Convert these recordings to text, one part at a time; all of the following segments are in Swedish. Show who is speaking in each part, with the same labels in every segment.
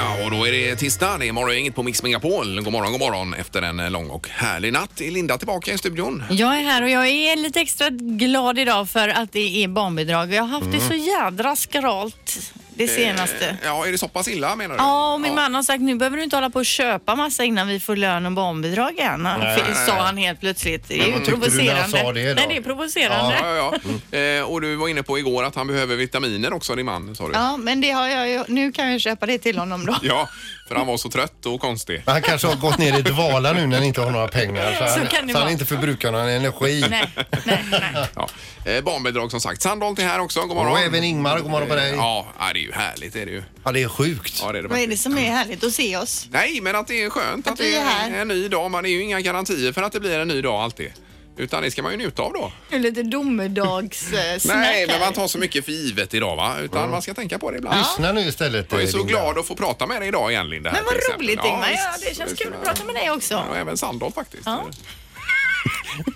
Speaker 1: Det är tisdag, det är morgongänget på Mix Megapol. God morgon, god morgon efter en eh, lång och härlig natt. Är Linda tillbaka i studion?
Speaker 2: Jag är här och jag är lite extra glad idag för att det är barnbidrag. Jag har haft
Speaker 3: Mm.
Speaker 2: det så jädra skralt
Speaker 3: Eh,
Speaker 2: det senaste.
Speaker 1: Eh, Ja, är det så pass illa menar du?
Speaker 2: Ja, och min man har sagt nu behöver du inte hålla på och köpa massa innan vi får lön och barnbidrag igen. Han-
Speaker 3: Nej.
Speaker 2: Sa han helt plötsligt. Det är ju
Speaker 3: vad tyckte du när
Speaker 2: provocerande.
Speaker 3: han sa det då?
Speaker 2: Nej, det är provocerande.
Speaker 1: Ja, ja, ja. Eh, och du var inne på igår att han behöver vitaminer också, din man, sa du?
Speaker 2: Ja, men det har jag ju, nu kan jag ju köpa det till honom då.
Speaker 1: Ja, för han var så trött och konstig.
Speaker 3: Men Han kanske har gått ner i dvala nu när han inte har några pengar. Så,
Speaker 2: Så
Speaker 3: han,
Speaker 2: kan det
Speaker 3: så han
Speaker 2: vara.
Speaker 3: inte förbrukar någon energi.
Speaker 2: Nej, nej, nej.
Speaker 1: Ja. Eh, barnbidrag som sagt. Sandholt är här också, god morgon.
Speaker 3: Och även Ingmar, god morgon på dig. Ja.
Speaker 1: Ja, ja, det är ju härligt är det ju.
Speaker 3: det är sjukt.
Speaker 1: Ja, det är det
Speaker 2: Vad är
Speaker 1: faktiskt.
Speaker 2: det som är härligt att se oss?
Speaker 1: Nej, men att det är skönt att,
Speaker 2: vi
Speaker 1: det
Speaker 2: är här.
Speaker 1: en ny dag. Man är ju inga garantier för att det blir en ny dag alltid. Utan det ska man ju njuta av då.
Speaker 2: Nu lite domedagssnack
Speaker 1: Nej, men man tar så mycket för givet idag va? Utan man ska tänka på det ibland.
Speaker 3: Lyssna nu istället. eh,
Speaker 1: Jag är så
Speaker 3: Linda.
Speaker 1: glad att få prata med dig idag igen Linda. här,
Speaker 2: Men vad
Speaker 1: till exempel.
Speaker 2: roligt Ingmar. Ja,
Speaker 1: visst.
Speaker 2: det känns kul att prata med dig också.
Speaker 1: Ja, även Sandholt faktiskt. Ja.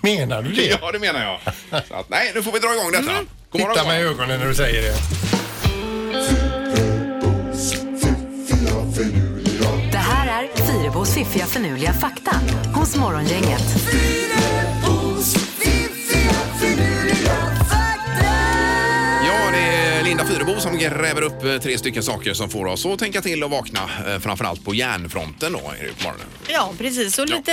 Speaker 3: Menar du det?
Speaker 1: det menar jag. Så att, nej, nu får vi dra igång detta.
Speaker 2: Mm.
Speaker 1: God morgon,
Speaker 3: Titta
Speaker 1: god
Speaker 3: mig i
Speaker 1: morgon.
Speaker 3: ögonen när du säger det.
Speaker 4: Det här är Fyrabos fiffiga förnuliga fakta hos Morgongänget.
Speaker 1: Ja, det är Linda Fyrebo som gräver upp eh, tre stycken saker som får oss att tänka till och vakna. eh, Framförallt på järnfronten då är det på morgonen.
Speaker 2: Ja, precis. Och lite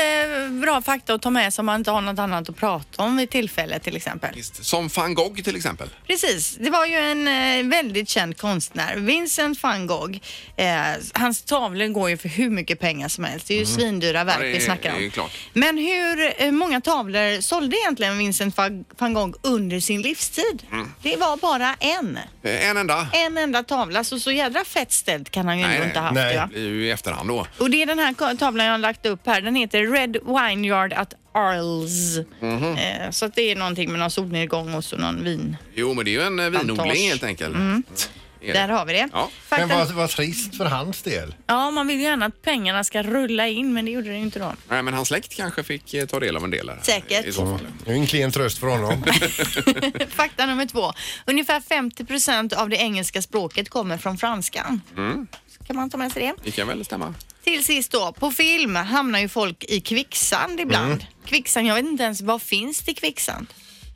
Speaker 2: bra fakta att ta med sig om man inte har något annat att prata om vid tillfället till exempel.
Speaker 1: Visst. Som van Gogh till exempel.
Speaker 2: Precis. Det var ju en eh, väldigt känd konstnär, Vincent van Gogh. Eh, hans tavlor går ju för hur mycket pengar som helst. Det är ju svindyra
Speaker 1: Mhm.
Speaker 2: verk
Speaker 1: Ja, det är-
Speaker 2: vi snackar om.
Speaker 1: det är klart.
Speaker 2: Men hur eh, många tavlor sålde egentligen Vincent van- van Gogh under sin livstid?
Speaker 1: Mm.
Speaker 2: Det var bara en.
Speaker 1: Eh, En enda.
Speaker 2: En enda tavla. Så, så jädra fett ställd kan han ju
Speaker 1: Nej,
Speaker 2: ändå
Speaker 1: nej.
Speaker 2: inte haft.
Speaker 3: Nej.
Speaker 2: va?
Speaker 1: Det är ju i efterhand då.
Speaker 2: Och det är den här ka- tavlan jag har lagt upp här. Den heter Red Wineyard at Arles.
Speaker 1: Mhm.
Speaker 2: Eh, så att det är någonting med någon solnedgång och så någon vin.
Speaker 1: Jo, men det är ju en eh, vinodling
Speaker 2: Plantage.
Speaker 1: helt enkelt.
Speaker 2: Mm.
Speaker 1: Är det.
Speaker 2: Där har vi det.
Speaker 1: Ja.
Speaker 3: Men
Speaker 2: Faktum,
Speaker 3: vad, vad trist för hans del.
Speaker 2: ja, man vill ju gärna att pengarna ska rulla in, men det gjorde det ju inte då.
Speaker 1: Nej, men hans släkt kanske fick eh, ta del av en del här.
Speaker 2: Säkert.
Speaker 1: I så fall.
Speaker 3: Det är ju en klen tröst för honom.
Speaker 2: Fakta nummer två. Ungefär 50 procent av det engelska språket kommer från franskan.
Speaker 1: Mm.
Speaker 2: Kan man ta med sig det?
Speaker 1: Det kan väl stämma.
Speaker 2: Till sist då, på film hamnar ju folk i
Speaker 1: Mm.
Speaker 2: kvicksand ibland. Kvicksand, jag vet inte ens, vad finns det i kvicksand?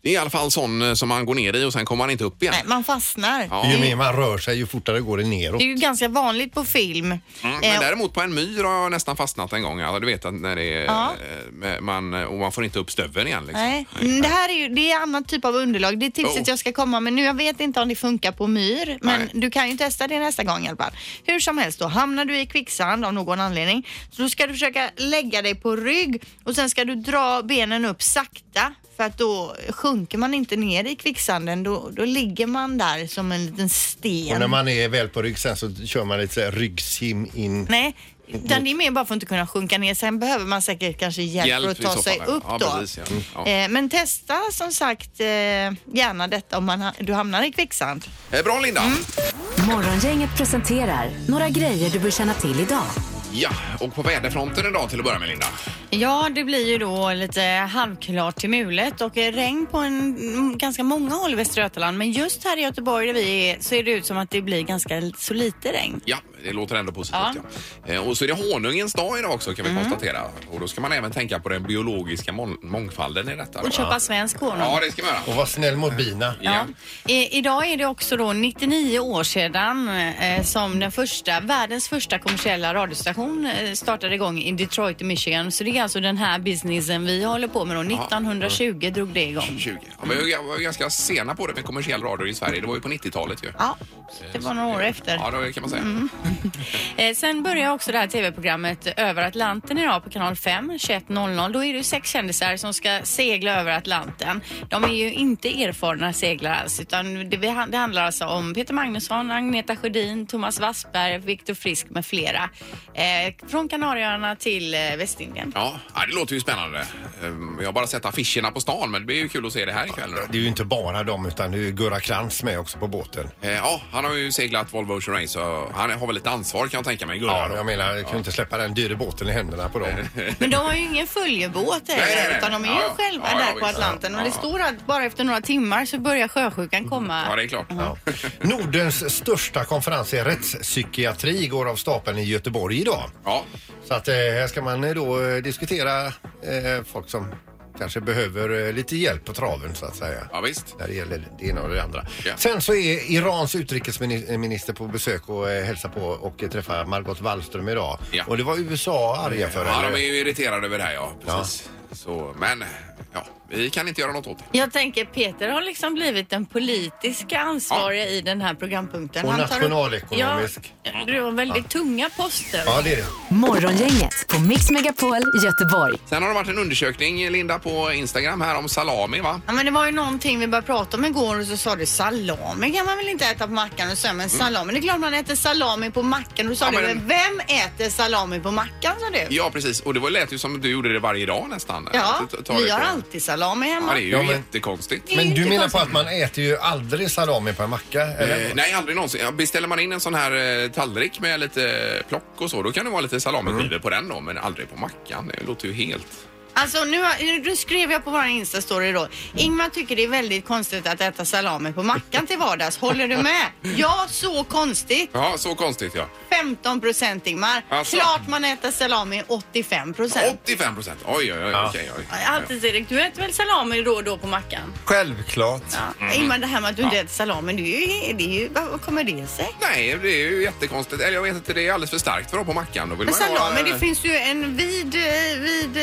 Speaker 1: Det är i alla fall sån eh, som man går ner i och sen kommer man inte upp igen.
Speaker 2: Nej, man fastnar.
Speaker 1: Ja.
Speaker 3: Ju mer man rör sig ju fortare går det neråt.
Speaker 2: Det är ju ganska vanligt på film.
Speaker 1: Mm,
Speaker 2: Eh,
Speaker 1: Men däremot på en myr har jag nästan fastnat en gång. Alltså, du vet att när det är,
Speaker 2: Ja.
Speaker 1: eh, man, och man får inte upp stöveln igen. Liksom.
Speaker 2: Nej, Mm, det här är ju det är annat typ av underlag. Det är tipset
Speaker 1: Oh.
Speaker 2: jag ska komma med nu. Jag vet inte om det funkar på myr, men
Speaker 1: Nej.
Speaker 2: du kan ju testa det nästa gång i alla fall. Hur som helst då, hamnar du i kvicksand av någon anledning så då ska du försöka lägga dig på rygg och sen ska du dra benen upp sakta för att då sjunker man inte ner i kvicksanden. Då, då ligger man där som en liten
Speaker 3: Och när
Speaker 2: sten.
Speaker 3: man är väl på rygg sen så kör man lite så här ryggsim in.
Speaker 2: Nej,
Speaker 1: Mm.
Speaker 2: utan det är mer bara för att inte kunna sjunka ner. Sen behöver man säkert kanske hjälp,
Speaker 1: Hjälp
Speaker 2: för att
Speaker 1: i så
Speaker 2: ta sig
Speaker 1: fall, ja.
Speaker 2: upp
Speaker 1: Ja,
Speaker 2: då.
Speaker 1: precis, ja. Mm, ja.
Speaker 2: Eh, Men testa som sagt eh, gärna detta om man ha, du hamnar i kvicksand.
Speaker 1: Eh, Bra Linda!
Speaker 2: Mm.
Speaker 4: Morgongänget presenterar några grejer du bör känna till idag.
Speaker 1: Ja, och på väderfronten idag till att börja med Linda.
Speaker 2: Ja, det blir ju då lite halvklart till mulet och eh, regn på en, mm, ganska många håll i Västra Götaland. Men just här i Göteborg där vi är så är det ut som att det blir ganska l- så lite regn.
Speaker 1: Ja, det låter ändå positivt.
Speaker 2: Ja. Mm.
Speaker 1: Ja. Eh, Och så är det honungens dag idag också kan vi konstatera. Och då ska man även tänka på den biologiska mång- mångfalden i detta. då.
Speaker 2: Och köpa svensk honung.
Speaker 1: Ja, det ska man
Speaker 3: Och
Speaker 1: göra.
Speaker 3: var snäll mot bina.
Speaker 1: Ja.
Speaker 2: Ja. I, idag är det också då 99 år sedan eh, som den första, världens första kommersiella radiostation eh, startade igång i Detroit i Michigan. Så det är alltså den här businessen vi håller på med då. 1920 drog det igång.
Speaker 1: 20. Ja, men jag var ju ganska sena på det med kommersiell radio i Sverige. Det var ju på 90-talet ju.
Speaker 2: Ja, det var några år efter. Mm.
Speaker 1: Ja, det kan man säga.
Speaker 2: Eh, sen börjar också det här tv-programmet Över Atlanten idag på kanal 5, 21.00. Då är det ju sex kändisar som ska segla över Atlanten. De är ju inte erfarna seglare alls utan det, beha- det handlar alltså om Peter Magnusson, Agneta Sjödin, Thomas Wassberg, Viktor Frisk med flera. Eh, från Kanarieöarna till eh, Västindien.
Speaker 1: Ja, Ja, ja, det låter ju spännande. Ehm, Jag har bara sett affischerna på stan, men det blir ju kul att se det här ikväll. nu.
Speaker 3: Det är ju inte bara dem utan det är ju Gurra Krantz med också på båten.
Speaker 1: Eh, Ja, han har ju seglat Volvo Ocean Race så han har väl lite ansvar kan jag tänka mig, Gurra.
Speaker 3: Ja,
Speaker 1: då.
Speaker 3: jag menar, jag kan ju inte släppa den dyra båten i händerna på dem.
Speaker 2: Men de har ju ingen följebåt
Speaker 1: Nej, nej, nej.
Speaker 2: heller utan de är ju
Speaker 1: Ja, ja.
Speaker 2: själva
Speaker 1: Ja, ja,
Speaker 2: där på
Speaker 1: visst.
Speaker 2: Atlanten. Och
Speaker 1: Ja,
Speaker 2: det
Speaker 1: ja.
Speaker 2: står att bara efter några timmar så börjar sjösjukan komma.
Speaker 1: Ja, det är klart.
Speaker 3: Ja. Nordens största konferens i rättspsykiatri går av stapeln i Göteborg idag.
Speaker 1: Ja,
Speaker 3: Så att eh, här ska man eh, då eh, diskutera eh, folk som kanske behöver eh, lite hjälp på traven så att säga.
Speaker 1: ja visst.
Speaker 3: När det gäller det ena och det andra.
Speaker 1: Ja.
Speaker 3: Sen så är Irans utrikesminister på besök och eh, hälsar på och eh, träffar Margot Wallström idag.
Speaker 1: Ja.
Speaker 3: Och det var USA arga för.
Speaker 1: Ja,
Speaker 3: eller?
Speaker 1: de är ju irriterade över det här, ja. Precis. Så, men, ja, vi kan inte göra något åt det.
Speaker 2: Jag tänker Peter har liksom blivit den politiska ansvariga i den här programpunkten.
Speaker 3: Och
Speaker 2: tar upp-
Speaker 3: nationalekonomisk.
Speaker 2: Ja, det var väldigt tunga poster.
Speaker 3: Ja, det är det.
Speaker 4: Morgongänget på Mix Megapol Göteborg.
Speaker 1: Sen har det varit en undersökning, Linda, på Instagram här om salami, va?
Speaker 2: Ja, men det var ju någonting vi började prata om igår och så sa du salami kan man väl inte äta på mackan och så här, men salami, det är klart man äter salami på mackan. Och då sa
Speaker 1: Mm. Ja,
Speaker 2: du,
Speaker 1: men-
Speaker 2: men vem äter salami på mackan sa du?
Speaker 1: Ja, precis. Och det var- lät ju som att du gjorde det varje dag nästan.
Speaker 2: Ja,
Speaker 1: Att ta- ta det
Speaker 2: vi har
Speaker 1: på-
Speaker 2: alltid salami
Speaker 1: Ja,
Speaker 2: hemma.
Speaker 1: det är ju
Speaker 3: Ja, men-
Speaker 1: jättekonstigt.
Speaker 2: Det är
Speaker 3: Men
Speaker 2: inte
Speaker 3: du menar på
Speaker 2: konstigt.
Speaker 3: att man äter ju aldrig salami på en macka? Eller?
Speaker 1: Eh, nej, aldrig någonsin. Ja, Beställer man in en sån här eh, tallrik med lite eh, plock och så, då kan det vara lite salamiskivor på den då, men aldrig på mackan. Det låter ju helt...
Speaker 2: Alltså nu, har- nu skrev jag på vår Insta-story då. Ingmar tycker det är väldigt konstigt att äta salami på mackan till vardags. Håller du med? Ja, så konstigt.
Speaker 1: Ja, så konstigt ja.
Speaker 2: 15 procent Ingmar.
Speaker 1: Alltså.
Speaker 2: Klart man äter salami 85 procent.
Speaker 1: 85 procent! Oj, oj, oj.
Speaker 3: Ja.
Speaker 1: Okej, oj.
Speaker 2: Alltid Erik, du äter väl salami då och då på mackan?
Speaker 5: Självklart.
Speaker 2: Ja.
Speaker 1: Mm.
Speaker 2: Ingmar, det här med att du inte äter salami, det är ju, det är ju, vad kommer det sig?
Speaker 1: Nej, det är ju jättekonstigt. Eller jag vet inte, det är alldeles för starkt för att ha på mackan. Då vill
Speaker 2: Men
Speaker 1: man ju
Speaker 2: salami,
Speaker 1: ha, eh,
Speaker 2: det finns ju en vid, eh, vid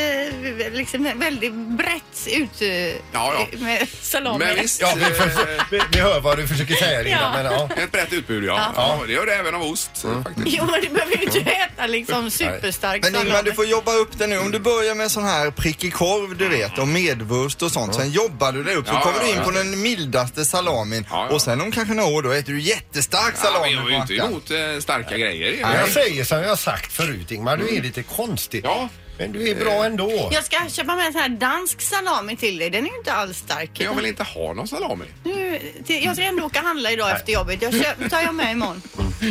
Speaker 2: eh, liksom väldigt brett ut eh,
Speaker 1: ja.
Speaker 2: med salami.
Speaker 1: Men visst.
Speaker 3: Ja, vi,
Speaker 1: eh,
Speaker 3: vi, vi hör vad du försöker säga Linda,
Speaker 2: Ja.
Speaker 3: men ja.
Speaker 1: Ett brett utbud, ja. ja. Det gör det även av ost. Faktiskt.
Speaker 2: Jo, men du behöver ju inte äta liksom superstark
Speaker 5: Men Ingmar,
Speaker 2: salami.
Speaker 5: du får jobba upp det nu. Om du börjar med sån här prickig korv, du vet, och medvurst och sånt. Sen jobbar du dig upp, så
Speaker 1: Ja,
Speaker 5: kommer du
Speaker 1: ja,
Speaker 5: in
Speaker 1: ja.
Speaker 5: på den mildaste salamin.
Speaker 1: Ja, ja.
Speaker 5: Och sen om kanske några år, då äter du jättestark
Speaker 1: Ja, men
Speaker 5: salami
Speaker 1: jag är
Speaker 5: på
Speaker 1: ju inte
Speaker 5: mackan.
Speaker 1: emot eh, starka grejer.
Speaker 3: Jag säger som jag har sagt förut Ingmar, du är lite konstig.
Speaker 1: Ja.
Speaker 3: Men du är bra ändå.
Speaker 2: Jag ska köpa med en sån här dansk salami till dig. Den är ju inte alls stark.
Speaker 1: Men Jag vill inte ha någon salami.
Speaker 2: Nu, till, jag ska ändå åka och handla idag efter jobbet. Jag köp, tar jag med imorgon.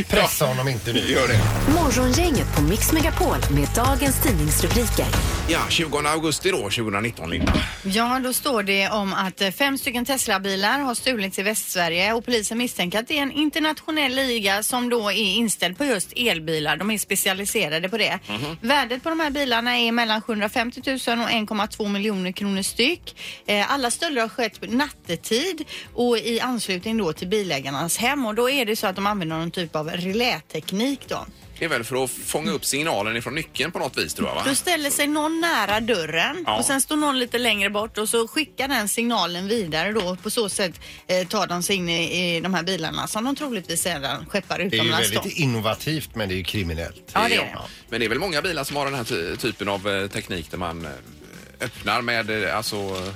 Speaker 3: Pressa honom inte nu.
Speaker 1: Gör det.
Speaker 4: Morgongänget på Mix Megapol med dagens tidningsrubriker.
Speaker 1: Ja, 20 augusti då, 2019, Linda.
Speaker 2: Ja, då står det om att eh, fem stycken Tesla-bilar har stulits i Västsverige och polisen misstänker att det är en internationell liga som då är inställd på just elbilar. De är specialiserade på det. Värdet på de här bilarna är mellan 750 000 och 1,2 miljoner kronor styck. Eh, Alla stölder har skett nattetid och i anslutning då till bilägarnas hem och då är det så att de använder någon typ av reläteknik då.
Speaker 1: Det är väl för att fånga upp signalen ifrån nyckeln på något vis, tror jag, va?
Speaker 2: Då ställer sig någon nära dörren
Speaker 1: Ja.
Speaker 2: och sen står någon lite längre bort och så skickar den signalen vidare då. På så sätt eh, tar de sig in i, i de här bilarna som de troligtvis sedan skeppar
Speaker 3: Det är ju
Speaker 2: utomlands då.
Speaker 3: väldigt innovativt men det är ju kriminellt.
Speaker 2: Ja, det är det.
Speaker 1: Men det är väl många bilar som har den här ty- typen av eh, teknik där man eh, öppnar med, eh, alltså, eh,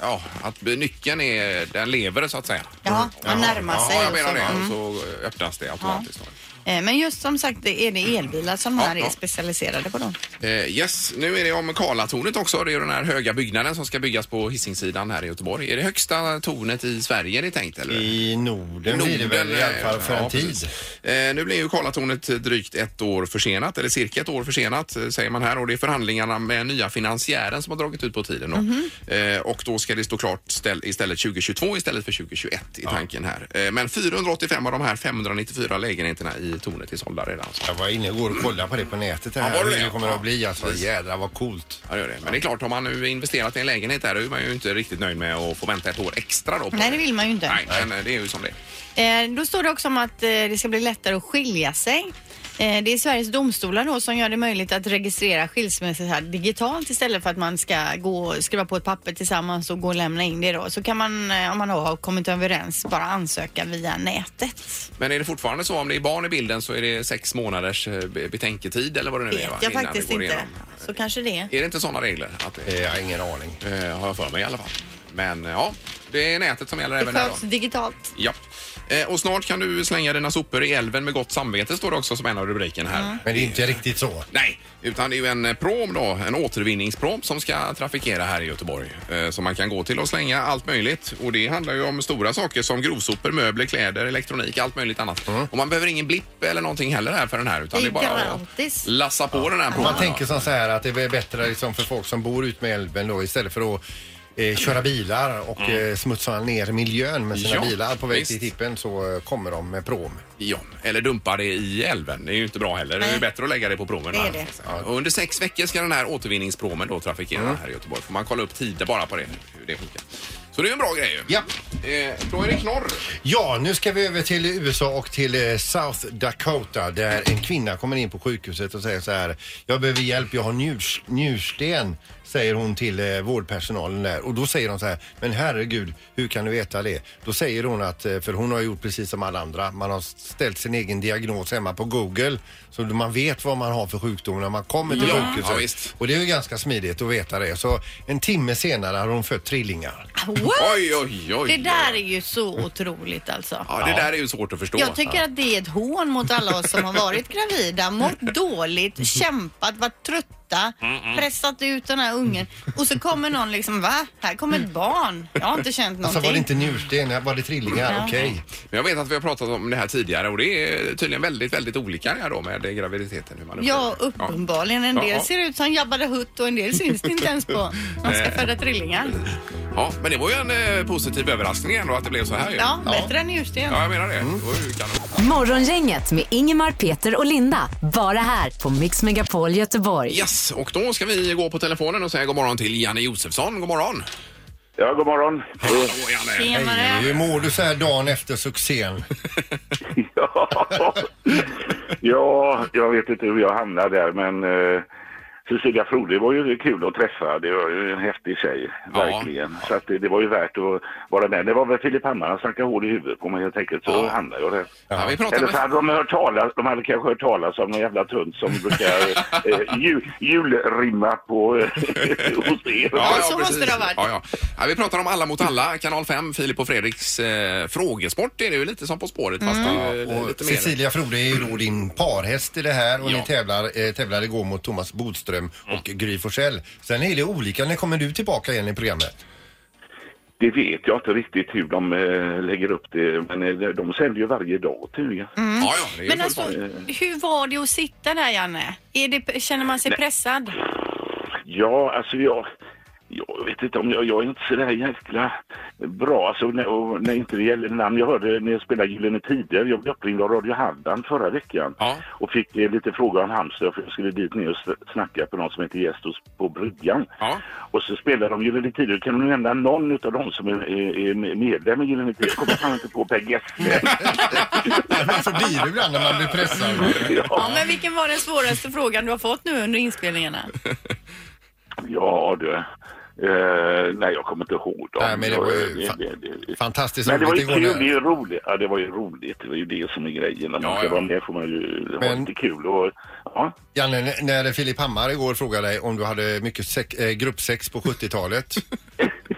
Speaker 1: ja, att nyckeln är, den lever så att säga.
Speaker 2: Ja, man närmar sig
Speaker 1: Mm. Ja, jag
Speaker 2: och
Speaker 1: menar
Speaker 2: så.
Speaker 1: det.
Speaker 2: Mm.
Speaker 1: Och så öppnas det automatiskt. då.
Speaker 2: Eh, Men just som sagt det är det elbilar som de
Speaker 1: Ja,
Speaker 2: här
Speaker 1: ja.
Speaker 2: är specialiserade på då.
Speaker 1: Eh, yes, nu är det om Karlatornet också. Det är ju den här höga byggnaden som ska byggas på Hisingssidan här i Göteborg. Är det högsta tornet i Sverige det är tänkt eller?
Speaker 3: I Norden blir det väl i alla fall för
Speaker 1: ja,
Speaker 3: en tid.
Speaker 1: precis. Eh, nu blir ju Karlatornet drygt ett år försenat, eller cirka ett år försenat eh, säger man här och det är förhandlingarna med nya finansiären som har dragit ut på tiden. Då.
Speaker 2: Mhm.
Speaker 1: Eh, och då ska det stå klart ställ, istället 2022 istället för 2021 i tanken här. Eh, men 485 av de här 594 lägenheterna i tornet är sålda redan. Så.
Speaker 3: Jag var inne igår och kollade på det på nätet här.
Speaker 1: Ja, var det
Speaker 3: hur
Speaker 1: det?
Speaker 3: det kommer
Speaker 1: Ja.
Speaker 3: att bli. Alltså jädrar vad coolt.
Speaker 1: Ja, det gör det. Men det är klart, har man nu investerat i en lägenhet där då är man ju inte riktigt nöjd med att få vänta ett år extra då. På
Speaker 2: Nej, det vill man ju inte.
Speaker 1: Nej, men eh, det är ju som det är.
Speaker 2: Eh, Då står det också om att eh, det ska bli lättare att skilja sig. Eh, Det är Sveriges domstolar då som gör det möjligt att registrera skilsmässor här digitalt istället för att man ska gå och skriva på ett papper tillsammans och gå och lämna in det då. Så kan man, eh, om man då har kommit överens, bara ansöka via nätet.
Speaker 1: Men är det fortfarande så om det är barn i bilden så är det sex månaders eh, be- betänketid eller vad det nu är?
Speaker 2: Vet
Speaker 1: va?
Speaker 2: jag
Speaker 1: Innan det
Speaker 2: faktiskt
Speaker 1: går
Speaker 2: inte.
Speaker 1: igenom.
Speaker 2: Så kanske det.
Speaker 1: Är det inte sådana regler? Att det,
Speaker 3: Eh, Jag har ingen aning.
Speaker 1: eh, har jag för mig i alla fall. Men eh, ja, Det är nätet som gäller
Speaker 6: Det
Speaker 1: även där
Speaker 6: sköts
Speaker 1: då.
Speaker 6: digitalt.
Speaker 1: Ja. Eh, Och snart kan du slänga dina sopor i älven med gott samvete står det också som en av rubriken här.
Speaker 2: Mm.
Speaker 3: Men det är inte riktigt så.
Speaker 1: Nej, utan det är ju en eh, prom då, en återvinningsprom som ska trafikera här i Göteborg. Eh, Som man kan gå till och slänga allt möjligt. Och det handlar ju om stora saker som grovsopor, möbler, kläder, elektronik, allt möjligt annat.
Speaker 3: Mm.
Speaker 1: Och man behöver ingen blipp eller någonting heller här för den här utan det
Speaker 6: Det
Speaker 1: är
Speaker 6: är
Speaker 1: bara att
Speaker 6: gratis.
Speaker 1: lassa på den här promen.
Speaker 3: Man
Speaker 1: då.
Speaker 3: tänker som så här att det är väl bättre liksom för folk som bor ut med älven då istället för att eh, köra bilar och eh, smutsa ner miljön med sina
Speaker 1: Mm. Ja,
Speaker 3: bilar på väg
Speaker 1: visst.
Speaker 3: till tippen så eh, kommer de med prom.
Speaker 1: Ja, eller dumpa det i älven. Det är ju inte bra heller. Det är
Speaker 6: Nej.
Speaker 1: bättre att lägga det på promen.
Speaker 6: Det är
Speaker 1: va?
Speaker 6: det.
Speaker 1: Ja, Och under sex veckor ska den här återvinningspromen då trafikera
Speaker 3: Mm.
Speaker 1: här i Göteborg. Får man kolla upp tider bara på det, hur det funkar. Så det är ju en bra grej ju.
Speaker 3: Ja.
Speaker 1: Eh, då är det knorr.
Speaker 3: Ja, nu ska vi över till USA och till eh, South Dakota där en kvinna kommer in på sjukhuset och säger så här. Jag behöver hjälp, jag har njurs, njursten, säger hon till eh, vårdpersonalen där. Och då säger de så här, men herregud, hur kan du veta det? Då säger hon att, eh, för hon har gjort precis som alla andra, man har ställt sin egen diagnos hemma på Google. Så man vet vad man har för sjukdom när man kommer till
Speaker 1: Ja,
Speaker 3: sjukhuset.
Speaker 1: ja, visst.
Speaker 3: Och det är ju ganska smidigt att veta det. Så en timme senare har hon fött trillingar.
Speaker 6: What?
Speaker 1: Oj, oj, oj.
Speaker 2: Det där är ju så otroligt alltså.
Speaker 1: Ja, det där är ju svårt att förstå.
Speaker 6: Jag tycker att det är ett hån mot alla oss som har varit gravida, mått dåligt, kämpat, varit trötta, pressat ut den här ungen och så kommer någon liksom, va? Här kommer ett barn. Jag har inte känt
Speaker 3: Alltså var det
Speaker 6: någonting.
Speaker 3: inte njursten, var det trillingar? Okej.
Speaker 1: Men jag vet att vi har pratat om det här tidigare och det är tydligen väldigt, väldigt olika det här då med graviditeten. Hur man
Speaker 6: Ja,
Speaker 1: upplever det.
Speaker 6: uppenbarligen. En
Speaker 1: Ja, ja.
Speaker 6: del ser ut som Jabba the Hutt och en del syns det inte ens på. Man ska föda trillingar.
Speaker 1: Ja, men det var ju en eh, positiv överraskning ändå att det blev så här ju.
Speaker 6: Ja, bättre än njursten.
Speaker 1: ja jag menar det.
Speaker 3: Mm.
Speaker 1: Det var ju kanon.
Speaker 4: Morgongänget med Ingemar, Peter och Linda. Bara här på Mix Megapol Göteborg.
Speaker 1: Yes, och då ska vi gå på telefonen och säga god morgon till Janne Josefsson. God morgon!
Speaker 7: Ja, god morgon.
Speaker 1: Hallå Janne!
Speaker 6: Tjenare.
Speaker 3: Hej, hur mår du så här dagen efter succén?
Speaker 7: ja. ja, jag vet inte hur jag hamnade där, men eh, Cecilia Frode var ju kul att träffa. Det var ju en häftig tjej,
Speaker 1: Ja.
Speaker 7: verkligen. Så att det, det var ju värt att vara med. Det var väl Filip Hammar som snackade hål i huvudet på mig helt enkelt, så
Speaker 1: Ja.
Speaker 7: hamnade jag där.
Speaker 1: Ja, vi pratar
Speaker 7: Eller så
Speaker 1: med...
Speaker 7: hade de hört talas, de hade kanske hört talas om någon jävla tunt som brukar eh, jul, julrimma på eh, hos er.
Speaker 6: så måste det ha varit.
Speaker 1: Ja, ja. Ja, vi pratar om Alla mot alla, kanal 5, Filip och Fredriks eh, frågesport. Det är ju lite som På spåret fast eh, lite
Speaker 3: Mm. Och
Speaker 1: mer.
Speaker 3: Cecilia Frode är ju då din parhäst i det här och
Speaker 1: Ja.
Speaker 3: ni tävlar, eh, tävlade igår mot Thomas Bodström och
Speaker 7: Mm.
Speaker 3: Gry Forssell. Sen är det olika, när kommer du tillbaka igen i programmet?
Speaker 7: Det vet jag inte riktigt hur de eh, lägger upp det, men eh, de sänder ju varje dag tydligen.
Speaker 1: Ja, ja, det är ju
Speaker 2: Men
Speaker 1: fullt
Speaker 2: alltså,
Speaker 1: vanligt.
Speaker 2: hur var det att sitta där Janne? Är det, känner man sig pressad?
Speaker 7: Ja, alltså jag... Jag vet inte om jag, jag är inte så där jäkla bra alltså, när, och, när inte det gäller namn. Jag hörde när jag spelade Gyllene Tider, jag blev uppringd av Radio Halland förra veckan
Speaker 1: Ja.
Speaker 7: och fick eh, lite frågor om Halmstad för jag skulle dit ner och s- snacka på någon som heter Gestus på bryggan.
Speaker 1: Ja.
Speaker 7: Och så spelar de Gyllene Tider. Kan du nämna någon av dem som är, är, är medlem i Gyllene Tider? Jag kommer fan inte på Per Gessle.
Speaker 3: Så blir det ibland när man blir pressad.
Speaker 2: Ja, men vilken var den svåraste frågan du har fått nu under inspelningarna?
Speaker 7: Ja, du. Eh, nej, jag kommer inte ihåg dem.
Speaker 3: Nej, men det var ju
Speaker 7: Jag-
Speaker 3: fan- Fantastiskt
Speaker 7: Men det var
Speaker 3: roligt
Speaker 7: ju
Speaker 3: igår.
Speaker 7: kul, det är
Speaker 3: när-
Speaker 7: ju roligt. Ja, det var ju roligt. Det var ju det som är grejen. När man
Speaker 1: Ja,
Speaker 7: ska
Speaker 1: ja.
Speaker 7: vara med får man ju ha
Speaker 3: Men-
Speaker 7: lite kul. Och, ja.
Speaker 3: Janne, n- när Filip Hammar igår frågade dig om du hade mycket sex, eh, gruppsex på 70-talet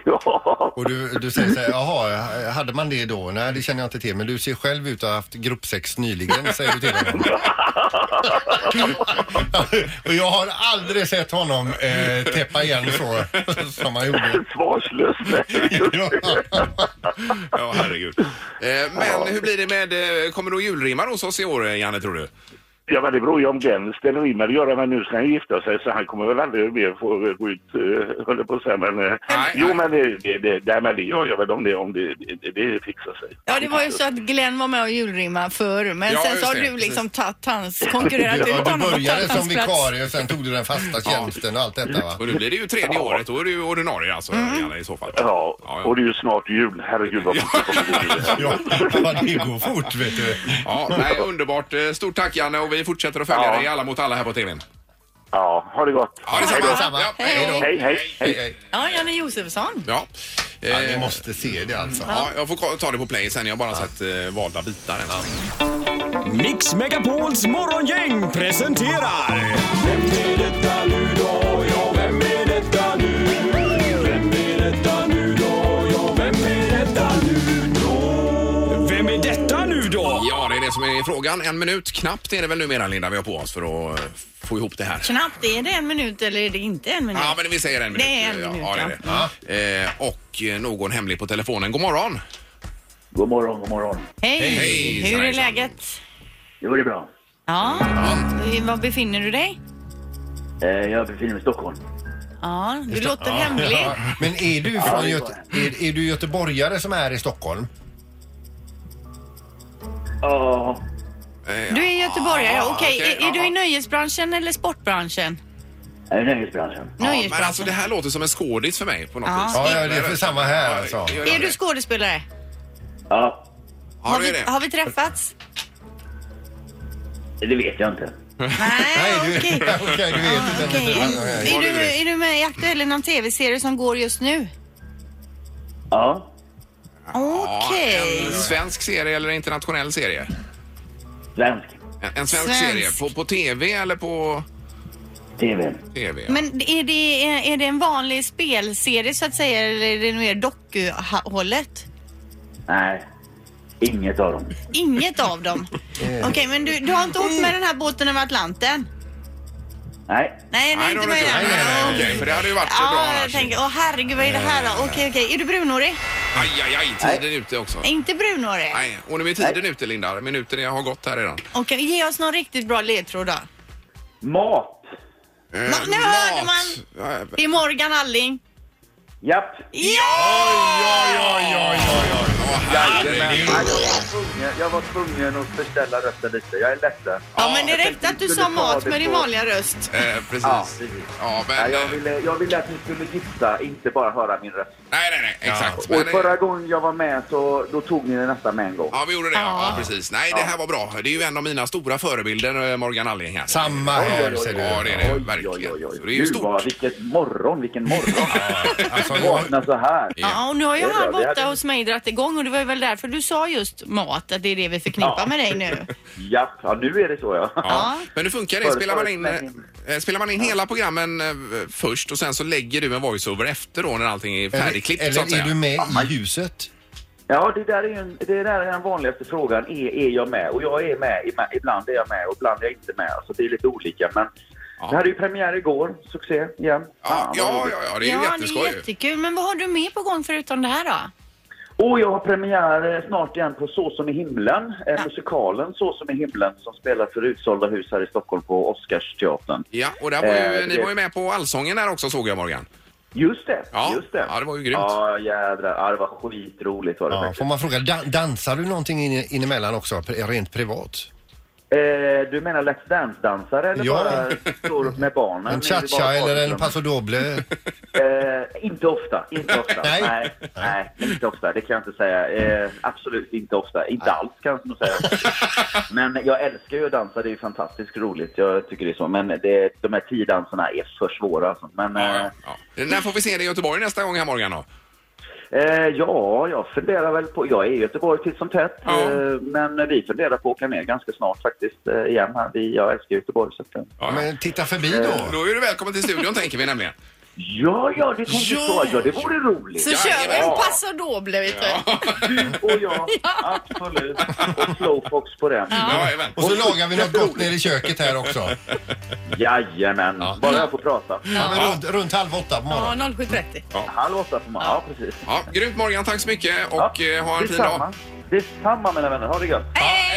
Speaker 7: ja.
Speaker 3: och du, du säger så här, jaha, hade man det då? Nej, det känner jag inte till, men du ser själv ut att ha haft gruppsex nyligen, säger du till honom. Och jag har aldrig sett honom eh, täppa igen så som han gjorde.
Speaker 7: Svarslös.
Speaker 3: Ja.
Speaker 1: ja, herregud. Eh, men hur blir det med... eh, Kommer du att julrimma hos oss i år, eh, Janne, tror du?
Speaker 7: ja, men det beror ju om den ställer in med att göra. Men nu ska han gifta sig så han kommer väl aldrig mer få gå ut, eh, höll jag på att säga. Men, eh,
Speaker 1: Nej,
Speaker 7: jo,
Speaker 1: nej.
Speaker 7: men det, det, det, nej, men det gör jag väl om det, om det, det, det fixar sig.
Speaker 2: Ja, det var ju så att Glenn var med och julrimma förr, men
Speaker 1: Ja,
Speaker 2: sen
Speaker 1: just
Speaker 2: så har
Speaker 1: det,
Speaker 2: du liksom tagit hans, konkurrerat ut
Speaker 3: Ja, du
Speaker 2: honom och
Speaker 3: började
Speaker 2: tagit hans
Speaker 3: som
Speaker 2: plats.
Speaker 3: vikarie och sen tog du den fasta tjänsten och allt detta va?
Speaker 1: Och nu blir det ju tredje året. Då är du ju ordinarie alltså, Janne, i så fall.
Speaker 7: Ja,
Speaker 1: Ja, ja.
Speaker 7: och det är ju snart jul. Herregud vad fort det kommer gå till.
Speaker 3: Ja, det går fort vet du.
Speaker 1: Ja, nej, underbart. Eh, Stort tack, Janne, och vi fortsätter att följa
Speaker 7: Ja.
Speaker 1: dig Alla mot alla här på TVn.
Speaker 7: Ja, ha det gott.
Speaker 1: Ja, detsamma.
Speaker 3: Detsamma, detsamma.
Speaker 1: Ja,
Speaker 3: Hej då.
Speaker 7: Hej, hej, hej.
Speaker 2: Ja, Janne Josefsson.
Speaker 1: Ja.
Speaker 3: Ja,
Speaker 1: Eh,
Speaker 3: ni måste se det alltså.
Speaker 1: Ja, jag får ko- ta det på play sen. Jag har bara sett eh, valda bitar än så länge.
Speaker 8: Mix Megapols morgongäng presenterar... Vem är detta nu då? Ja, vem är detta nu? Vem är detta nu då? Ja, vem är
Speaker 1: är frågan. En minut knappt är det väl numera Linda vi har på oss för att eh, få ihop det här.
Speaker 2: Knappt, är det en minut eller är det inte en minut?
Speaker 1: Ja, men vi säger en minut.
Speaker 2: Det är en minut,
Speaker 1: ja, det är det. Eh, och eh, någon hemlig på telefonen. God morgon! Eh,
Speaker 9: God morgon, god morgon.
Speaker 2: Hej!
Speaker 1: Hej,
Speaker 2: Hur är
Speaker 1: hejsan.
Speaker 2: läget?
Speaker 9: Jo, det är bra.
Speaker 2: Ja, var befinner du dig?
Speaker 9: Eh, Jag befinner mig i Stockholm.
Speaker 2: Ja, du låter hemlig.
Speaker 3: Men är du,
Speaker 9: Ja,
Speaker 3: från
Speaker 9: det är
Speaker 3: Göte- är, är du göteborgare som är i Stockholm?
Speaker 9: Ja,
Speaker 2: Du är göteborgare,
Speaker 1: Ja,
Speaker 2: okej.
Speaker 1: okej,
Speaker 2: Är, är du
Speaker 1: ja.
Speaker 2: i nöjesbranschen eller sportbranschen?
Speaker 9: jag är i nöjesbranschen.
Speaker 1: Ja, men
Speaker 2: Nöjesbranschen.
Speaker 1: alltså det här låter som en skådis för mig på något
Speaker 2: Ja.
Speaker 1: vis.
Speaker 3: Ja, ja, det är för samma här alltså.
Speaker 1: Ja,
Speaker 2: Är du skådespelare?
Speaker 9: Ja,
Speaker 1: Ja, det är
Speaker 2: vi,
Speaker 1: det.
Speaker 2: har vi träffats?
Speaker 9: det vet jag inte.
Speaker 2: Nej,
Speaker 3: Nej, du,
Speaker 2: okej.
Speaker 3: okej, du vet inte.
Speaker 2: Okej. Är, du, är du med i Aktuell i någon tv-serie som går just nu?
Speaker 9: Ja,
Speaker 2: Okej.
Speaker 1: En svensk serie eller en internationell serie?
Speaker 9: svensk
Speaker 1: En, en svensk,
Speaker 2: Svensk.
Speaker 1: serie. På, på TV eller på
Speaker 9: tv.
Speaker 1: TV? ja.
Speaker 2: Men är det, är det en vanlig spelserie så att säga eller är det mer doku-hållet?
Speaker 9: Nej, inget av dem.
Speaker 2: Inget av dem. Okej, men du, du har inte åkt med den här båten över Atlanten?
Speaker 9: Nej,
Speaker 2: Nej, nej,
Speaker 1: då
Speaker 2: inte
Speaker 1: har
Speaker 2: med
Speaker 1: du
Speaker 2: den.
Speaker 1: Nej, nej, nej, okej, för det hade ju varit bra Eh.
Speaker 2: Ja, jag
Speaker 1: annars.
Speaker 2: tänker, åh herregud vad är det här då? Okej, okej, är du brunhårig?
Speaker 1: Aj, aj, aj, tiden är ute också.
Speaker 2: Nej, Inte brunhårig?
Speaker 1: Nej, och nu är tiden ute Linda. Minuten har gått här redan.
Speaker 2: Okej, ge oss någon riktigt bra ledtråd då.
Speaker 9: mat.
Speaker 1: Eh,
Speaker 2: Ma- nu hörde
Speaker 1: man! Eh,
Speaker 2: Det är Morgan Alling.
Speaker 9: Japp.
Speaker 2: Ja!
Speaker 9: Jag var tvungen att förställa rösten lite. Jag är ledsen.
Speaker 2: Ja, men det räckte att du sa mat med din vanliga röst.
Speaker 1: Eh, precis.
Speaker 9: Ja,
Speaker 1: Ja,
Speaker 9: precis.
Speaker 1: men,
Speaker 9: jag,
Speaker 1: eh,
Speaker 9: ville, jag ville att ni skulle gissa, inte bara höra min röst.
Speaker 1: Nej, nej, nej, exakt.
Speaker 9: Och
Speaker 1: Men, eh,
Speaker 9: förra gången jag var med så då tog ni det nästan med en gång.
Speaker 1: Ja, vi gjorde det. Ja, precis. Nej, det här var bra. Det är ju en av mina stora förebilder, eh, Morgan Alling här.
Speaker 3: Samma här ser
Speaker 1: Ja,
Speaker 3: du.
Speaker 1: det är det.
Speaker 9: Oj, oj,
Speaker 1: Verkligen.
Speaker 9: oj, oj.
Speaker 1: Så Det är ju
Speaker 9: Gud, vad,
Speaker 1: stort.
Speaker 9: vilket morgon, vilken morgon.
Speaker 3: Alltså,
Speaker 9: Vakna så här.
Speaker 2: Ja, och nu har ju
Speaker 9: Det är bra,
Speaker 2: han
Speaker 9: det
Speaker 2: borta
Speaker 9: hade-
Speaker 2: hos mig dragit igång och det var ju väl därför du sa just mat, att det är det vi förknippar
Speaker 9: Ja.
Speaker 2: med dig nu.
Speaker 9: Japp, ja nu är det så ja.
Speaker 1: Ja. Men hur funkar det?
Speaker 9: Före-
Speaker 1: Spelar man in,
Speaker 9: föreställningen.
Speaker 1: eh, spelar man in hela programmen eh, först och sen så lägger du en voiceover efter då när allting är färdigklippt så att
Speaker 3: eller är
Speaker 1: säga?
Speaker 3: du med i ljuset?
Speaker 9: Ja, det där är, ju en, det där är den vanligaste frågan. Är, är jag med? Och jag är med. Ima- Ibland är jag med och ibland är jag inte med. Så det är lite olika. Men
Speaker 1: Ja.
Speaker 9: det hade ju premiär igår. Succé igen.
Speaker 1: Ja,
Speaker 9: Fan, vad
Speaker 1: ja,
Speaker 9: roligt.
Speaker 1: ja, ja, det är ju
Speaker 2: Ja, det
Speaker 1: jätteskoj.
Speaker 2: är jättekul. Men vad har du mer på gång förutom det här då?
Speaker 9: Och jag har premiär eh, snart igen på Så som i himlen. eh, Musikalen Så som i himlen som spelar för utsålda hus här i Stockholm på Oscarsteatern.
Speaker 1: Ja, och där var ju,
Speaker 9: Eh,
Speaker 1: ni
Speaker 9: det-
Speaker 1: var ju med på Allsången där också såg jag Morgan.
Speaker 9: Just det!
Speaker 1: Ja,
Speaker 9: just det.
Speaker 1: ja, det var ju grymt.
Speaker 9: Ja, jädrar. Ja, det var skitroligt var det
Speaker 3: Ja,
Speaker 9: faktiskt.
Speaker 3: får man fråga, dan- dansar du någonting in, in emellan också, pre- rent privat?
Speaker 9: Eh, du menar Let's Dance-dansare eller
Speaker 3: Ja.
Speaker 9: bara står upp med barnen?
Speaker 3: En
Speaker 9: Är det bara
Speaker 3: cha-cha eller en
Speaker 9: barnen?
Speaker 3: paso doble?
Speaker 9: Eh, inte ofta, inte ofta.
Speaker 3: Nej.
Speaker 9: nej. Nej, inte ofta. Det kan jag inte säga. Eh, absolut inte ofta. Inte alls kan jag nog säga. Men jag älskar ju att dansa. Det är ju fantastiskt roligt. Jag tycker det är så. Men det, de här tio danserna är för svåra. Alltså. Men
Speaker 1: Ja,
Speaker 9: eh,
Speaker 1: ja, ja. När får vi se dig i Göteborg nästa gång här Morgan då?
Speaker 9: eh, ja, jag funderar väl på... Jag är i Göteborg titt som tätt.
Speaker 1: Ja.
Speaker 9: Eh, men vi funderar på att åka ner ganska snart faktiskt eh, igen. Här. Vi, jag älskar Göteborg. Så att, eh.
Speaker 1: Ja, ja.
Speaker 3: Men titta förbi då.
Speaker 1: Då är du välkommen till studion tänker vi nämligen.
Speaker 9: Ja, ja, det tänkte
Speaker 1: Ja.
Speaker 9: jag. Ja, det vore roligt.
Speaker 2: Så
Speaker 1: Ja,
Speaker 2: kör vi
Speaker 1: ja.
Speaker 2: en passadoble vet du.
Speaker 9: Du och jag, absolut. Och Slowfox på den.
Speaker 1: Ja, jajamän.
Speaker 3: Och så lagar vi något gott nere i köket här också.
Speaker 9: Jajamän, bara jag får prata.
Speaker 3: Ja, men runt, runt halv åtta på
Speaker 2: Ja,
Speaker 3: morgonen.
Speaker 2: 07.30.
Speaker 9: Halv åtta på morgonen, ja precis.
Speaker 1: Ja, grymt Morgan, tack så mycket och eh, ha en fin
Speaker 9: Detsamma.
Speaker 1: dag.
Speaker 9: Detsamma mina vänner, ha det gött.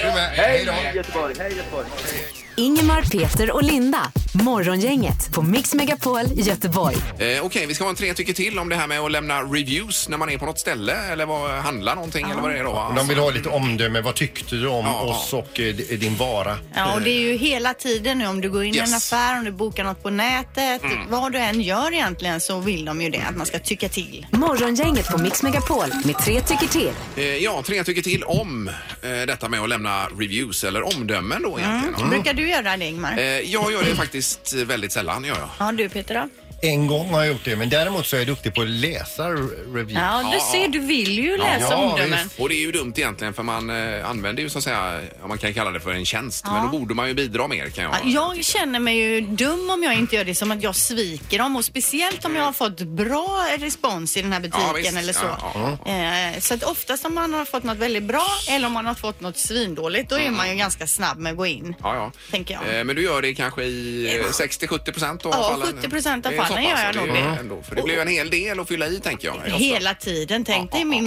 Speaker 3: Är du med?
Speaker 9: Hej
Speaker 3: Hej då.
Speaker 9: Göteborg, hej Göteborg. Hej.
Speaker 4: Ingemar, Peter och Linda. Morgongänget på Mix Megapol Göteborg.
Speaker 1: Eh, Okej, vi ska ha en tre tycker till om det här med att lämna reviews när man är på något ställe eller vad, handla någonting eller vad det är då. Alltså, va?
Speaker 3: De vill ha lite omdöme. Vad tyckte du om
Speaker 1: Ja.
Speaker 3: oss och eh, d- din vara?
Speaker 2: Ja, och det är ju hela tiden nu om du går in i en
Speaker 1: Yes.
Speaker 2: affär, om du bokar något på nätet, vad du än gör egentligen så vill de ju det, att man ska tycka till.
Speaker 4: Morgongänget på Mix Megapol med tre tycker till.
Speaker 1: Eh, ja, tre tycker till om eh, detta med att lämna reviews eller omdömen
Speaker 2: Mm.
Speaker 1: då egentligen.
Speaker 2: Brukar du göra det Ingmar?
Speaker 1: Eh, jag gör det faktiskt väldigt sällan gör jag.
Speaker 2: Ja, du Peter då?
Speaker 3: En gång har jag gjort det, men däremot så är jag duktig på att läsa reviews.
Speaker 2: Ja, du ser, du vill ju läsa
Speaker 3: Ja,
Speaker 2: omdömen.
Speaker 1: Och det är ju dumt egentligen för man eh, använder ju så att säga, om man kan kalla det för en tjänst, men då borde man ju bidra mer kan jag
Speaker 2: Ja, Jag känner mig ju dum om jag inte gör det som att jag sviker dem och speciellt om jag har fått bra respons i den här butiken
Speaker 1: Ja, visst.
Speaker 2: eller så.
Speaker 1: Ja, ja,
Speaker 2: Eh, Så att oftast om man har fått något väldigt bra eller om man har fått något svindåligt då är man ju ganska snabb med att gå in.
Speaker 1: Ja, ja.
Speaker 2: Tänker jag.
Speaker 1: Eh, Men du gör det kanske i eh, 60-70 procent av
Speaker 2: Ja,
Speaker 1: fallen?
Speaker 2: 70% av
Speaker 1: Det är så
Speaker 2: fallen
Speaker 1: pass,
Speaker 2: gör jag
Speaker 1: så
Speaker 2: nog
Speaker 1: är
Speaker 2: det.
Speaker 1: Ändå, för det blir ju en hel del att fylla i tänker jag.
Speaker 2: Hela tiden. Tänk dig min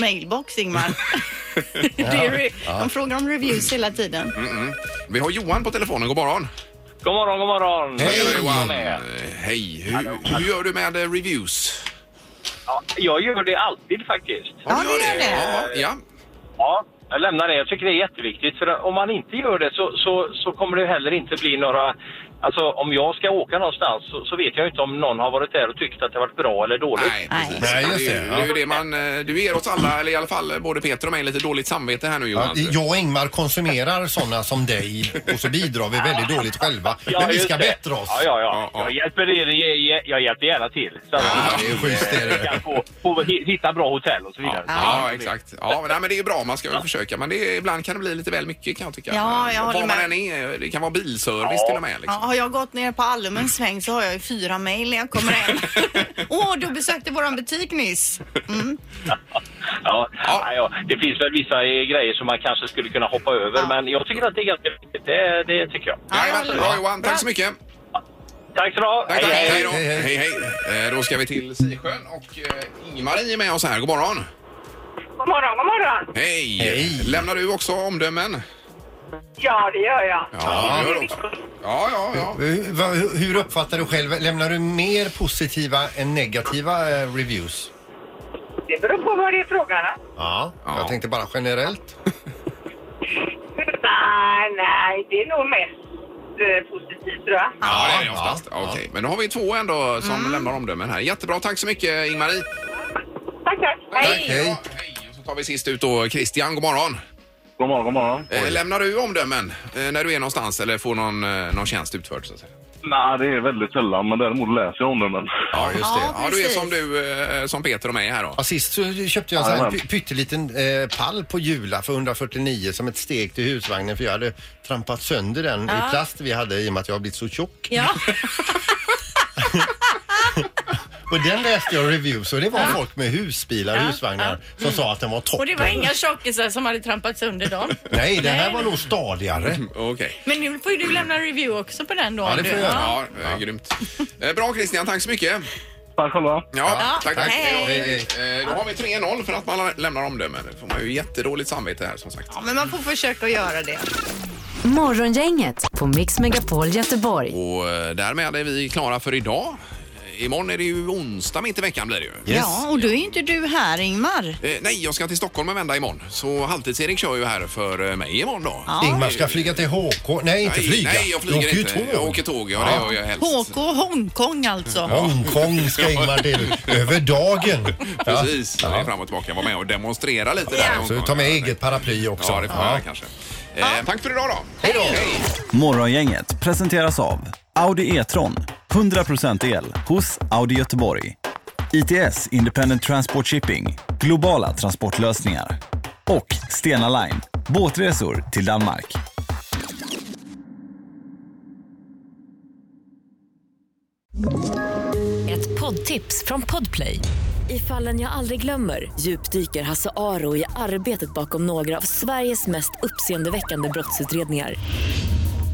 Speaker 2: mailbox, Ingmar. det är, re- de frågar om reviews hela tiden.
Speaker 1: Mm. Vi har Johan på telefonen, god morgon.
Speaker 9: God morgon, god morgon.
Speaker 1: Hej Johan!
Speaker 9: med.
Speaker 1: Eh, Hej! Hur, hur gör du med eh, reviews?
Speaker 9: Ja, jag gör det alltid faktiskt.
Speaker 2: Ja, det gör det.
Speaker 1: Ja, ja.
Speaker 9: Ja, jag lämnar det. Jag tycker det är jätteviktigt. För om man inte gör det så, så, så kommer det heller inte bli några... Alltså om jag ska åka någonstans så, så vet jag inte om någon har varit där och tyckt att det har varit bra eller dåligt.
Speaker 1: Nej, precis.
Speaker 3: Nej, just
Speaker 1: Det är
Speaker 3: det,
Speaker 1: ju-
Speaker 3: ja.
Speaker 1: det är ju det man, eh, du ger oss alla, eller i alla fall eh, både Peter och mig, lite dåligt samvete här nu
Speaker 3: Ja,
Speaker 1: Johan.
Speaker 3: jag och Ingmar konsumerar sådana som dig och så bidrar vi väldigt dåligt själva.
Speaker 9: Ja,
Speaker 3: Men vi
Speaker 9: just
Speaker 3: ska
Speaker 9: det.
Speaker 3: bättra oss.
Speaker 9: Ja, ja, ja.
Speaker 1: Ja, ja.
Speaker 9: Jag hjälper er. Jag, jag- jag hjälper gärna till. Så att
Speaker 3: Ja, det är schysst, det är
Speaker 9: vi
Speaker 3: det.
Speaker 9: kan få, få hi- hitta bra hotell och så vidare.
Speaker 1: Ja, exakt. Ja, men, nej, men det är ju bra. Man ska väl försöka. Men det är, ibland kan det bli lite väl mycket kan jag tycka. Eh,
Speaker 2: Ja, jag
Speaker 1: Var
Speaker 2: håller
Speaker 1: man
Speaker 2: med.
Speaker 1: än är. Det kan vara bilservice till och med.
Speaker 2: Ja,
Speaker 1: Liksom.
Speaker 2: har jag gått ner på Allum en sväng så har jag ju fyra mejl när jag kommer hem. Åh, du besökte våran butik nyss.
Speaker 9: Ja,
Speaker 1: Ja.
Speaker 9: ja. ja, det finns väl vissa eh, grejer som man kanske skulle kunna hoppa över,
Speaker 2: Ja.
Speaker 9: men jag tycker att det är ganska viktigt. Det, det tycker jag.
Speaker 1: Ja,
Speaker 2: jag
Speaker 1: men,
Speaker 2: håller
Speaker 1: bra
Speaker 2: med.
Speaker 1: Johan, tack så mycket.
Speaker 9: Tack så du ha.
Speaker 1: Tack, tack.
Speaker 9: Hej, hej.
Speaker 1: Hej, då.
Speaker 3: Hej, hej.
Speaker 1: Hej, hej. Eh, Då ska vi till Sisjön och eh, Ingmarie är med oss här. God morgon.
Speaker 10: God morgon, god morgon.
Speaker 1: Hej.
Speaker 3: Hej.
Speaker 1: Lämnar du också omdömen?
Speaker 10: Ja, det gör jag.
Speaker 1: Ja, det gör du också. Ja, ja, ja.
Speaker 3: Hur- vad- Hur uppfattar du själv? Lämnar du mer positiva än negativa eh, reviews?
Speaker 10: Det beror på vad det är frågan om.
Speaker 3: Ja.
Speaker 1: Ja.
Speaker 3: Jag tänkte bara generellt.
Speaker 10: Nej, Ah, nej, det är nog mest eh, positivt tror jag.
Speaker 1: Ja, det är det oftast. Okej, men då har vi två ändå som lämnar omdömen här. Jättebra, tack så mycket Ingmarie.
Speaker 10: Tack, tack.
Speaker 3: Hej.
Speaker 1: Ja, hej. Och så tar vi sist ut då Christian, god morgon.
Speaker 9: God morgon, god morgon.
Speaker 1: Eh, lämnar du omdömen eh, när du är någonstans eller får någon, eh, någon tjänst utförd så att säga?
Speaker 7: Nej, det är väldigt sällan, men däremot läser jag om den.
Speaker 3: Ja, just det.
Speaker 1: Ja, du är
Speaker 2: precis.
Speaker 1: som du, eh, som Peter och mig här då.
Speaker 3: Ja, sist så köpte jag en sån här
Speaker 7: Jajamän.
Speaker 3: py- pytteliten eh, pall på Jula för 149 som ett steg till husvagnen för jag hade trampat sönder den i plast vi hade i och med att jag har blivit så tjock.
Speaker 2: Ja,
Speaker 3: Och den läste jag reviews och det var folk med husbilar och husvagnar som sa att den var
Speaker 2: och
Speaker 3: toppen.
Speaker 2: det var inga tjockisar som hade trampats under dem.
Speaker 3: Nej, den här
Speaker 2: Nej.
Speaker 3: var nog stadigare.
Speaker 1: Okej.
Speaker 2: Men nu får ju du lämna en review också på den då.
Speaker 3: Ja,
Speaker 2: om
Speaker 3: det får
Speaker 2: du-
Speaker 3: jag göra.
Speaker 1: Ja, eh, grymt. Eh, Bra Christian, tack så mycket.
Speaker 7: Tack själva.
Speaker 1: Ja, tack, tack.
Speaker 2: hej.
Speaker 1: Hej, hej. Eh, Då har vi 3-0 för att man lämnar omdömen. Nu får man ju jättedåligt samvete här som sagt.
Speaker 2: Ja, men man får försöka att göra det.
Speaker 4: Morgongänget på Mix Megapol Göteborg.
Speaker 1: Och eh, därmed är vi klara för idag. Eh, Imorgon är det ju onsdag mitt i veckan blir det ju.
Speaker 2: Ja, och då är inte du här Ingmar.
Speaker 1: Eh, nej, jag ska till Stockholm en vända imorgon. Så Halvtids-Erik kör ju här för eh, mig imorgon då.
Speaker 3: Ingmar ska flyga till HK. Nej, inte
Speaker 1: Nej,
Speaker 3: flyga.
Speaker 1: Nej, jag
Speaker 3: Du
Speaker 1: flyger
Speaker 3: åker ju
Speaker 1: inte. Jag åker tåg, ja, det gör jag helst.
Speaker 2: HK Hongkong alltså.
Speaker 3: Hongkong ska Ingmar till. Över dagen. Ja.
Speaker 1: Precis, det är fram och tillbaka. Jag var med och demonstrera lite där.
Speaker 3: Så ta med eget paraply också.
Speaker 1: Ja, det får jag göra kanske. Eh, tack för idag då.
Speaker 3: Hej då.
Speaker 11: Morgongänget presenteras av Audi E-tron. 100% el hos Audi Göteborg. ITS Independent Transport Shipping. Globala transportlösningar. Och Stena Line. Båtresor till Danmark.
Speaker 12: Ett poddtips från Podplay. I fallen jag aldrig glömmer djupdyker Hasse Aro i arbetet bakom några av Sveriges mest uppseendeväckande brottsutredningar.